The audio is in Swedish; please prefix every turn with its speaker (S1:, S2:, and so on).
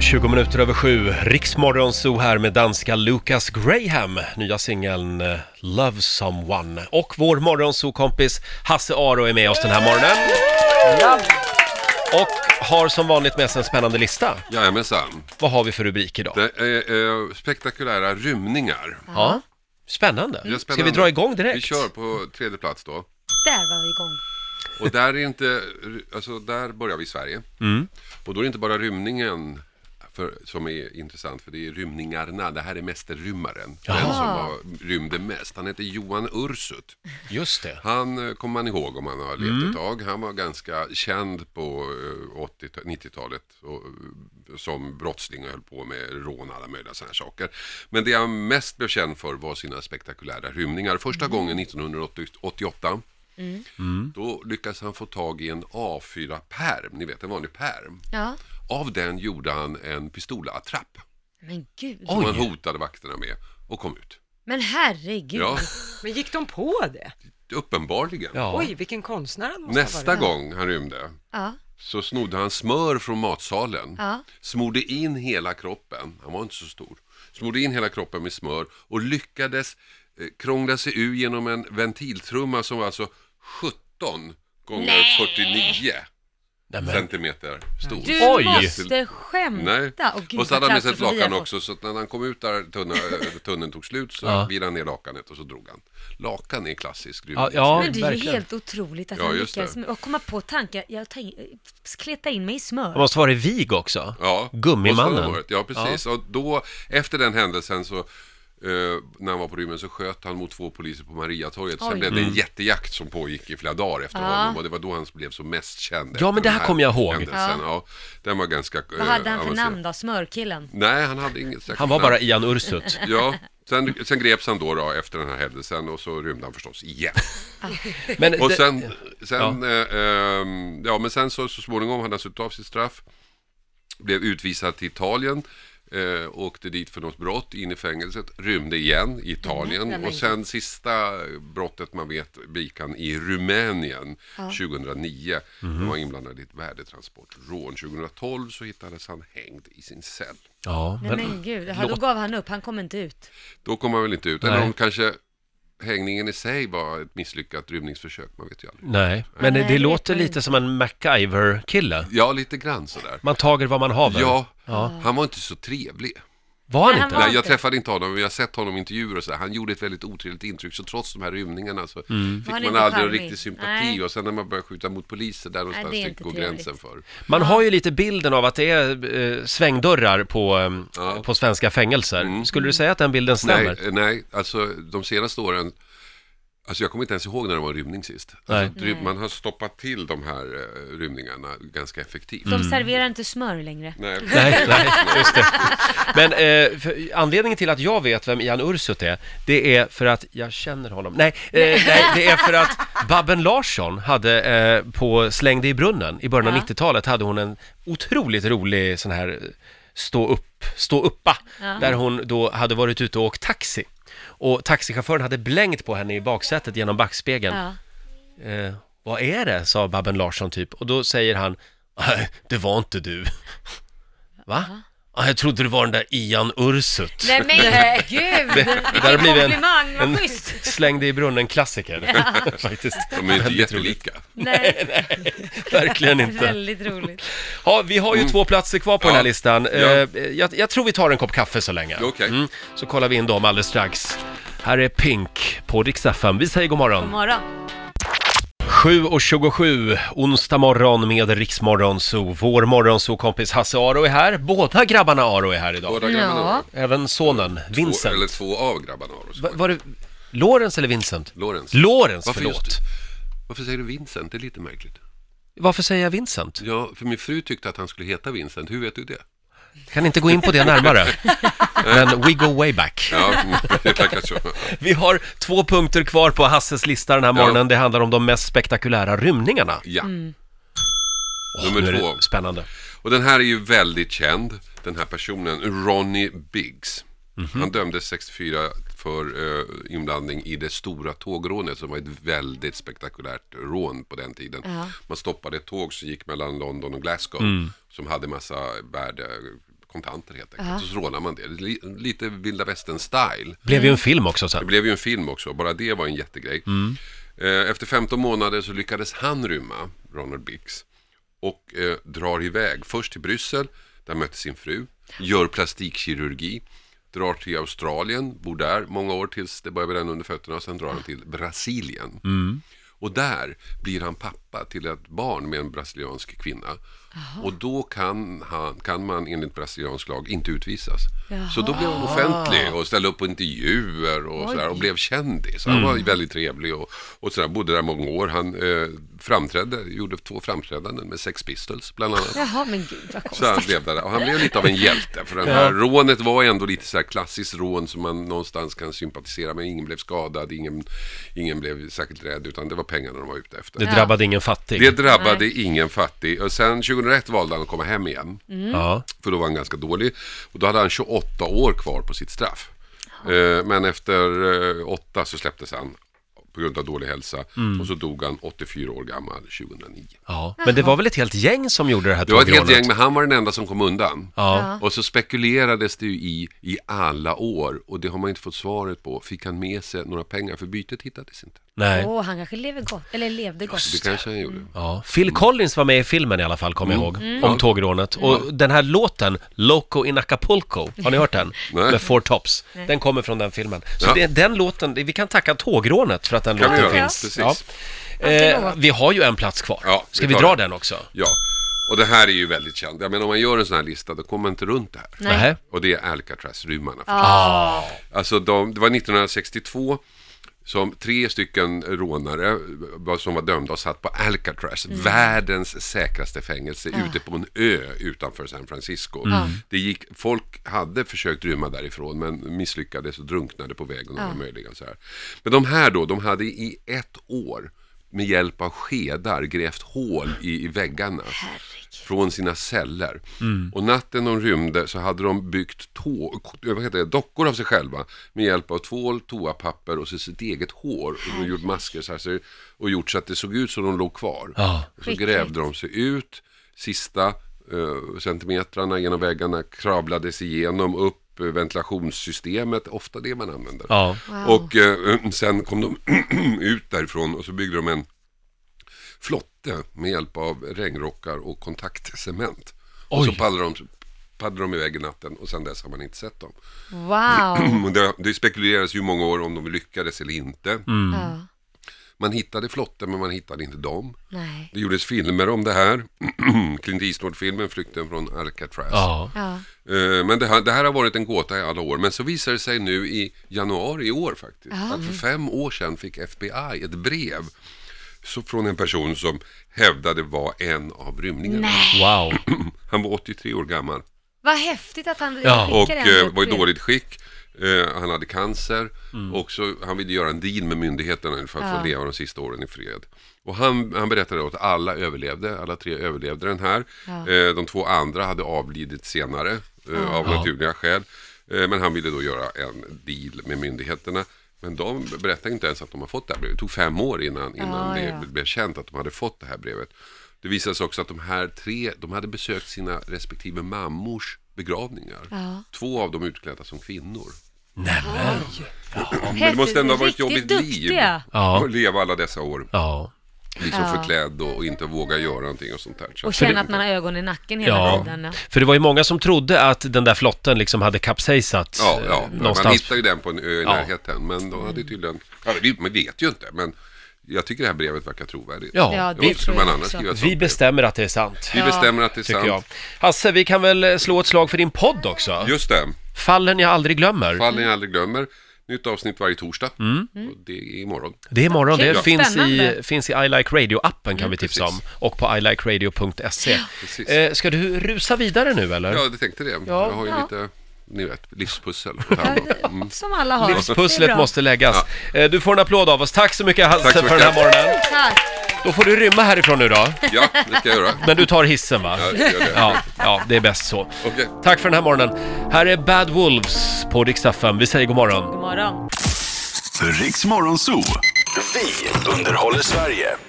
S1: 20 minuter över sju, Riksmorgon Zoo här med danska Lucas Graham, nya singeln eh, Love Someone. Och vår morgonzoo-kompis Hasse Aro är med oss den här morgonen. Och har som vanligt med sig en spännande lista.
S2: Jajamensan.
S1: Vad har vi för rubrik idag?
S2: Det är eh, spektakulära rymningar.
S1: Ja, spännande.
S2: Det är
S1: Ska
S2: spännande.
S1: vi dra igång
S2: Vi
S1: direkt?
S2: kör på tredje plats då.
S3: Där var vi igång.
S2: Och där är inte, alltså där börjar vi i Sverige. Och då är det inte bara rymningen för, som är intressant, för det är rymningarna. Det här är mästerrymmaren. Den som var, rymde mest. Han heter Johan Ursut.
S1: Just det.
S2: Han eh, kommer man ihåg om man har levt ett tag. Han var ganska känd på eh, 80 90-talet och, eh, som brottsling och höll på med rån och alla möjliga sådana saker. Men det han mest blev känd för var sina spektakulära rymningar. Första gången 1988
S1: Mm.
S2: då lyckas han få tag i en A4-pärm, ni vet en vanlig pärm.
S3: Ja.
S2: Av den gjorde han en pistolattrapp
S3: Men gud.
S2: som
S1: Oj.
S2: han hotade vakterna med och kom ut.
S3: Men herregud.
S2: Ja,
S4: Men gick de på det?
S2: uppenbarligen.
S1: Ja.
S4: Oj, vilken konstnär han måste ha
S2: Nästa
S4: varit.
S2: gång han rymde,
S3: Ja.
S2: så snodde han smör från matsalen,
S3: Ja.
S2: smorde in hela kroppen, han var inte så stor, smorde in hela kroppen med smör och lyckades eh, krångla sig ur genom en ventiltrumma som var alltså 17 gånger 49
S1: Nej, men,
S2: centimeter stor.
S3: Du
S1: Oj.
S3: måste skämta.
S2: Nej.
S3: Åh, gud,
S2: och så hade
S3: vad
S2: han med sig ett
S3: trassel vi har
S2: lakan
S3: fått.
S2: också, så att när han kom ut där tunna, eh, tunneln tog slut så
S1: Ja.
S2: virade han ner lakanet och så drog han. Lakan är klassisk
S1: ja,
S2: rymning.
S1: ja
S3: Men det är ju
S1: verkligen.
S3: helt otroligt att
S2: Ja,
S3: han
S2: just
S3: lyckades
S2: det.
S3: med, och komma på tanken, jag tänk, kleta in mig i smör.
S1: Han måste vara i vig också.
S2: Ja,
S1: Gummimannen.
S2: kostade året. Ja, precis. Och då, efter den händelsen så, eh, när han var på rymmen så sköt han mot två poliser på Mariatorget. Sen
S3: Oj.
S2: blev det
S1: Mm.
S2: en jättejakt som pågick i flera dagar efter
S3: Ja.
S2: honom och det var då han blev som mest känd.
S1: Ja, men
S2: efter
S1: det här
S2: den
S1: kommer jag ihåg.
S2: händelsen. Ja. Den var ganska... eh,
S3: Vad hade han för namn då? Smörkillen?
S2: Nej, han hade inget säkert
S1: Han var
S2: namn.
S1: bara Ian Ursut.
S2: Ja, sen, sen greps han då, då efter den här händelsen och så rymde han förstås igen.
S1: Men
S2: Och
S1: det-
S2: sen, sen, ja. Eh, ehm, ja, men sen så, så småningom hade han suttit av sitt straff, blev utvisad till Italien, eh, åkte dit för något brott, in i fängelset, rymde igen i Italien
S3: Nej, men-
S2: och sen sista brottet man vet begick han i Rumänien 2009. Han var inblandad i ett värdetransportrån. 2012 så hittades han hängd i sin cell.
S1: Ja,
S3: Nej men gud, ja, då
S1: Låt-
S3: gav han upp, han kom inte ut.
S2: Då kom han väl inte ut,
S1: Nej.
S2: eller om kanske hängningen i sig var ett misslyckat rymningsförsök, man vet ju aldrig.
S1: Nej, men det,
S3: Nej,
S1: det
S3: det
S1: låter
S3: vet man
S1: lite som en MacGyver-kille.
S2: Ja, lite grann sådär.
S1: Man tager vad man haver.
S2: Ja, han var inte så trevlig.
S1: Var han
S3: Nej,
S1: inte?
S3: han
S2: Nej, jag
S3: inte.
S2: träffade inte honom, men jag har sett honom i intervjuer och så här. Han gjorde ett väldigt otrevligt intryck, så trots de här rymningarna så fick
S1: Mm.
S3: Var han
S2: man
S3: inte
S2: aldrig en
S3: charmig?
S2: riktig sympati.
S3: Nej.
S2: Och sen när man börjar skjuta mot poliser, där någonstans
S3: det är
S2: tycker
S3: inte
S2: går
S3: trevligt.
S2: gränsen för.
S1: Man har ju lite bilden av att det är eh, svängdörrar på, eh,
S2: Ja. Mm.
S1: på svenska fängelser. Skulle du säga att den bilden stämmer?
S2: Nej, eh, nej, alltså de senaste åren, alltså jag kommer inte ens ihåg när det var rymning sist. Alltså,
S3: Nej.
S2: dry- man har stoppat till de här eh, rymningarna ganska effektivt.
S3: De serverar inte smör längre.
S2: Nej.
S1: Nej, nej, just det. Men eh, för, anledningen till att jag vet vem Ian Ursut är, det är för att jag känner honom. Nej, eh, nej det är för att Babben Larsson hade eh, på Slängde i brunnen i början av
S3: Ja.
S1: 90-talet hade hon en otroligt rolig sån här eh, stå upp, stå uppa, där hon då hade varit ute och åkt taxi. Och taxichauffören hade blängt på henne i baksätet genom backspegeln
S3: Ja.
S1: eh, vad är det? sa Babben Larsson typ. Och då säger han, nej, det var inte du. Va? Ja, jag trodde det var den där Ian Ursut.
S3: Nej men gud! Det,
S1: Det där har blivit en,
S3: komplimang, vad
S1: en
S3: schysst!
S1: slängde i brunnen-klassiker. Faktiskt.
S2: De är inte
S1: Väldigt roligt.
S2: jättelika.
S3: Nej,
S1: Verkligen inte.
S3: väldigt roligt.
S1: Ja, vi har ju två platser kvar på den här
S2: Mm. Ja.
S1: listan. Eh,
S2: Ja.
S1: jag, jag tror vi tar en kopp kaffe så länge. Mm.
S2: Okej.
S1: Så kollar vi in dem alldeles strax. Här är Pink på Rix FM. Vi säger god morgon.
S3: God morgon.
S1: 7.27, onsdag morgon med Riksmorgon Zoo. Vår morgonzoo-kompis Hasse Aro är här. Båda grabbarna Aro är här idag.
S2: Båda grabbarna
S3: Ja.
S2: har
S1: Även sonen,
S2: två, eller
S1: Vincent.
S2: två av grabbarna har också.
S1: Va, var det Lawrence eller Vincent?
S2: Lorentz.
S1: Lawrence,
S2: Varför
S1: förlåt.
S2: just- Varför säger du Vincent? Det är lite märkligt.
S1: Varför säger jag Vincent?
S2: Ja, för min fru tyckte att han skulle heta Vincent. Hur vet du det?
S1: Kan inte gå in på det närmare. Men we go way back.
S2: Ja, det verkar så.
S1: Vi har två punkter kvar på Hasses lista den här
S2: Ja.
S1: morgonen. Det handlar om de mest spektakulära rymningarna.
S2: Ja.
S1: Mm. Åh,
S2: Nummer
S1: nu är det
S2: två.
S1: Spännande.
S2: Och den här är ju väldigt känd, den här personen, Ronnie Biggs. Han dömdes 64 för eh, inblandning i det stora tågrånet som var ett väldigt spektakulärt rån på den tiden.
S3: Ja.
S2: Man stoppade ett tåg som gick mellan London och Glasgow som hade massa värde, kontanter helt enkelt. Och så rånar man det. Li- Lite vilda västern-style.
S1: Blev ju en film också
S2: Det
S1: sen.
S2: blev ju en film också, bara det var en jättegrej. Eh, Efter 15 månader så lyckades han rymma, Ronald Bix, och eh, drar iväg. Först till Bryssel, där han möter sin fru, gör plastikkirurgi, drar till Australien, bor där många år tills det börjar bränna under fötterna och sen drar han till Brasilien. Och där blir han pappa till ett barn med en brasiliansk kvinna. Och då kan, han, kan man enligt brasiliansk lag inte utvisas. Så då blev han offentlig och ställde upp på intervjuer och, sådär, och blev kändis. Han var väldigt trevlig och, och sådär, bodde där många år. Han eh, framträdde, gjorde två framträdanden med Sex Pistols bland annat.
S3: Jaha, men gud vad konstigt.
S2: Så han blev där. Och han blev lite av en hjälte. För det här rånet var ändå lite så här klassiskt rån som man någonstans kan sympatisera med. Ingen blev skadad, ingen, ingen blev särskilt rädd, utan det var pengarna de var ute efter.
S1: Det drabbade ingen fattig.
S2: Det drabbade ingen fattig. Och sen 2001 valde han att komma hem igen.
S1: Ja.
S2: För då var han ganska dålig. Och då hade han 28 år kvar på sitt straff. Eh, Men efter eh, åtta så släpptes han på grund av dålig hälsa. Och så dog han 84 år gammal 2009.
S1: ja. Men det var väl ett helt gäng som gjorde det här
S2: Det var ett helt
S1: tågrånet?
S2: gäng, men han var den enda som kom undan.
S1: Ja.
S2: Och så spekulerades det ju i, i alla år och det har man inte fått svaret på. Fick han med sig några pengar? För bytet hittades inte.
S1: Nej.
S3: Åh, han kanske lever gott, eller levde gott.
S2: Det kanske han gjorde.
S1: Ja.
S2: Mm.
S1: Phil Collins var med i filmen i alla fall, kommer jag ihåg, om tågrånet. Och den här låten, Loco in Acapulco, har ni hört den?
S2: Nej.
S1: Med Four Tops. Den kommer från den filmen. Så
S2: Ja.
S1: det, den låten, det- vi kan tacka tågrånet för att den
S2: Kan vi
S1: låten
S2: göra,
S1: finns.
S2: precis.
S1: Eh, vi har ju en plats kvar.
S2: Ja, vi
S1: Ska vi
S2: tar
S1: dra
S2: det.
S1: den också?
S2: Ja, och det här är ju väldigt känt. Jag menar om man gör en sån här lista då kommer man inte runt det här.
S3: Nej.
S1: Nähä.
S2: Och det är Alcatraz-rymmarna. Alltså de, det var 1962 som tre stycken rånare eh, som var dömda och satt på Alcatraz, världens säkraste fängelse, ute på en ö utanför San Francisco. Det gick, folk hade försökt rymma därifrån men misslyckades och drunknade på vägen och alla möjliga och så här. Men de här då, de hade i ett år med hjälp av skedar grävt hål i, i väggarna från sina celler. Och natten de rymde så hade de byggt tå, eh, vad heter det, dockor av sig själva med hjälp av tvål, toapapper och så sitt eget hår. Och de gjort masker så här, så- och gjort så att det såg ut som de låg kvar.
S1: Ja.
S2: Så grävde de sig ut, sista eh, centimetrarna genom väggarna kravlades igenom upp eh, ventilationssystemet, ofta det man använder.
S1: Ja.
S2: Och eh, sen kom de ut därifrån och så byggde de en flotte med hjälp av regnrockar och kontaktcement. Och så
S1: Oj.
S2: paddlade de, paddlade de iväg i natten och sen dess har man inte sett dem.
S3: Wow.
S2: Och det, det spekulerades ju många år om de lyckades eller inte.
S1: Mm.
S3: Ja,
S2: Man hittade flotten men man hittade inte dem.
S3: nej.
S2: Det gjordes filmer om det här. Clint Eastwood-filmen Flykten från Alcatraz.
S1: Ja.
S3: Ja.
S2: Eh, Men det här, det här har varit en gåta i alla år. Men så visar det sig nu i januari i år faktiskt. Att för fem år sedan fick FBI ett brev så från en person som hävdade var en av rymlingarna.
S1: Wow.
S2: Han var 83 år gammal
S3: Vad häftigt att han
S1: Ja.
S3: skickar
S2: och
S3: ändå
S2: eh,
S3: ett
S2: var i
S3: brev.
S2: dåligt skick. Eh, han hade cancer och så, han ville göra en deal med myndigheterna för att få leva de sista åren i fred. Och han, han berättade då att alla överlevde, alla tre överlevde den här. Eh, de två andra hade avlidit senare eh, av naturliga skäl. Eh, men han ville då göra en deal med myndigheterna. Men de berättade inte ens att de har fått det här brevet. Det tog fem år innan, innan
S3: Ja,
S2: det
S3: ja.
S2: blev känt att de hade fått det här brevet. Det visade sig också att de här tre, de hade besökt sina respektive mammors begravningar.
S3: Ja.
S2: Två av dem utklädda som kvinnor.
S1: Nämen.
S2: Men det måste ändå ha varit ett
S3: Häftigt,
S2: jobbigt
S3: riktigt
S2: liv.
S3: duktiga.
S1: Ja.
S2: Att leva alla dessa år,
S1: Ja.
S2: liksom
S3: Ja.
S2: förklädd och, och inte våga göra någonting och sånt där. Så
S3: Och känna att man har ögon i nacken hela
S1: Ja,
S3: tiden. Ja.
S1: för det var ju många som trodde att den där flotten liksom hade kapsejsat
S2: Ja,
S1: eh,
S2: ja. man
S1: någonstans.
S2: hittar ju den på en ö i
S1: Ja.
S2: närheten. Men de hade tydligen, ja, vi- man vet ju inte, men jag tycker det här brevet verkar trovärdigt.
S1: Ja,
S3: Ja,
S2: det skulle
S3: det tror
S2: man
S3: jag
S2: annars
S3: också.
S2: skriva ett
S1: Vi
S2: sånt brev.
S1: bestämmer att det är sant.
S2: Vi bestämmer att det är
S1: Tycker jag.
S2: sant.
S1: Hasse, vi kan väl eh, slå ett slag för din podd också?
S2: Just det.
S1: Fallen jag aldrig glömmer.
S2: Fallen jag aldrig glömmer. Nytt avsnitt varje torsdag. Och det är imorgon.
S1: Det är imorgon.
S3: Kul,
S1: Det finns i,
S3: spännande.
S1: finns i I Like Radio-appen kan vi
S2: Mm, precis.
S1: tipsa om. Och på ilikeradio.se.
S2: Precis.
S1: Eh, ska du rusa vidare nu eller?
S2: Ja, det tänkte det. jag har ju
S3: ja.
S2: lite, ni vet, livspussel att ta hand om. Mm.
S3: Som alla har. Det är
S1: Livspusslet
S3: bra.
S1: måste läggas. Eh, du får en applåd av oss. Tack så mycket Hasse
S2: Tack så
S1: för den här
S2: mycket.
S1: morgonen.
S3: Tack.
S1: Då får du rymma härifrån nu då.
S2: Ja, det ska jag göra.
S1: Men du tar hissen va?
S2: Ja, gör det.
S1: Ja, ja, det är bäst så.
S2: Okej.
S1: Tack för den här morgonen. Här är Bad Wolves på Rix FM. Vi säger god morgon.
S3: God morgon.
S5: Riks Morgonzoo. Vi underhåller Sverige.